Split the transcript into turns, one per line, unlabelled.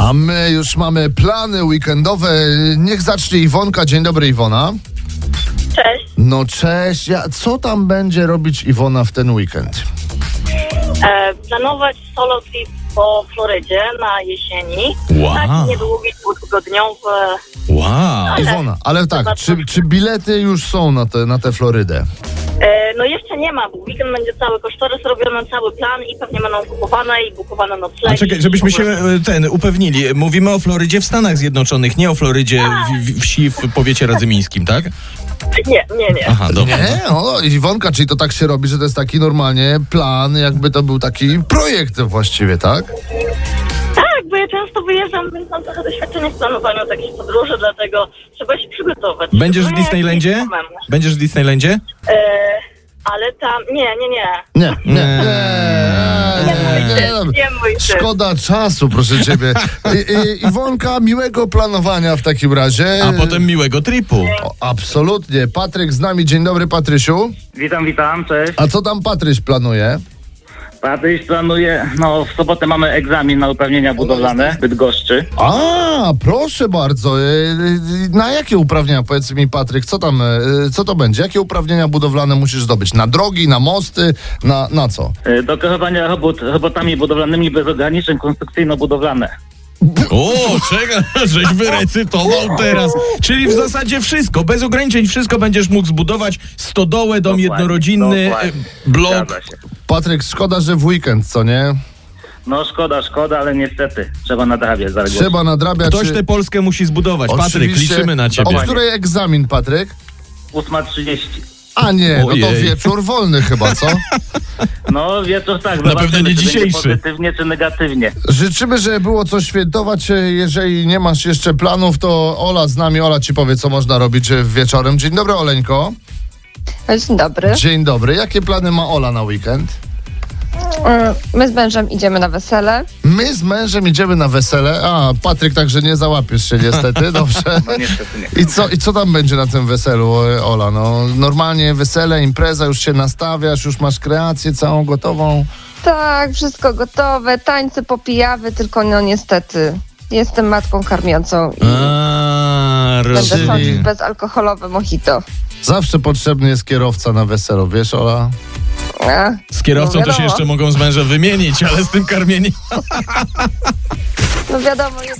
A my już mamy plany weekendowe. Niech zacznie Iwonka. Dzień dobry, Iwona.
Cześć.
No cześć. Ja, co tam będzie robić Iwona w ten weekend?
E, planować solo trip po Florydzie na jesieni.
Wow.
Taki niedługi, dwutygodniowy.
Wow.
Iwona, ale tak, czy, czy bilety już są na, te, na tę Florydę?
E, no jeszcze nie ma, bo weekend będzie cały kosztorys robiony, cały plan i pewnie będą kupowane i bukowane noclegi.
A No czekaj, żebyśmy się e, ten upewnili. Mówimy o Florydzie w Stanach Zjednoczonych, nie o Florydzie w, w, wsi w powiecie radzymińskim, tak?
Nie, nie, nie.
Aha, dobra.
Nie, E? o, Iwonka, czyli to tak się robi, że to jest taki normalnie plan, jakby to był taki projekt właściwie, tak?
Tak, bo ja często wyjeżdżam, więc mam trochę doświadczenia w planowaniu takich podróży, dlatego trzeba się przygotować.
Będziesz w
Szczególnie jak
Disneylandzie?
jeździ samemu.
Będziesz w Disneylandzie?
E, ale tam, nie, nie, nie.
Nie, nie.
Nie.
nie, nie,
no,
nie, nie.
Nie mój syn.
Szkoda czasu, proszę ciebie. I, i, Iwonka, miłego planowania w takim razie.
A potem miłego tripu.
O, absolutnie. Patryk z nami. Dzień dobry, Patrysiu.
Witam, witam, cześć.
A co tam Patryś planuje?
Patryś planuje, no w sobotę mamy egzamin na uprawnienia budowlane w Bydgoszczy.
A, proszę bardzo. E, e, Na jakie uprawnienia, powiedz mi Patryk, co tam, e, co to będzie? Jakie uprawnienia budowlane musisz zdobyć? Na drogi, na mosty, na, na co?
Y, Do kierowania robót, robotami budowlanymi bez ograniczeń konstrukcyjno-budowlane.
O, czeka, żeś wyrecytował teraz. Czyli w zasadzie wszystko, bez ograniczeń wszystko będziesz mógł zbudować. Stodołę, dom
Dokładnie,
jednorodzinny,
dokładnie.
e, blok.
Zgadza się.
Patryk, szkoda, że w weekend, co nie?
No szkoda, szkoda, ale niestety trzeba nadrabiać zaległości.
Trzeba nadrabiać.
Ktoś tę Polskę musi zbudować. Patryk,
Oczywiście.
liczymy na ciebie.
O której egzamin, Patryk?
8.30.
A nie, no to
Ojej.
wieczór wolny chyba, co?
No wieczór tak,
Na pewno nie
czy będzie
dzisiejszy.
pozytywnie czy negatywnie.
Życzymy, żeby było co świętować. E, Jeżeli nie masz jeszcze planów, to Ola z nami. Ola ci powie, co można robić e, wieczorem. Dzień dobry, Oleńko.
Tak?
Dzień dobry.
Dzień dobry. Jakie plany ma Ola na weekend?
Mm, My z mężem idziemy na wesele.
My z mężem idziemy na wesele. A, Patryk, także nie załapiesz się niestety, dobrze.
No niestety nie.
I co, I co tam będzie na tym weselu, e, Ola? No, normalnie wesele, impreza, już się nastawiasz, już masz kreację całą gotową.
Tak, wszystko gotowe, tańce, popijawy, tylko no niestety jestem matką karmiącą i
A,
będę chodzić
rozumiem.
bezalkoholowe mojito.
Zawsze potrzebny jest kierowca na weselu, wiesz, Ola?
A,
Z kierowcą
No
to się
wiadomo.
jeszcze mogą z mężem wymienić, ale z tym karmieniem
No wiadomo, jeden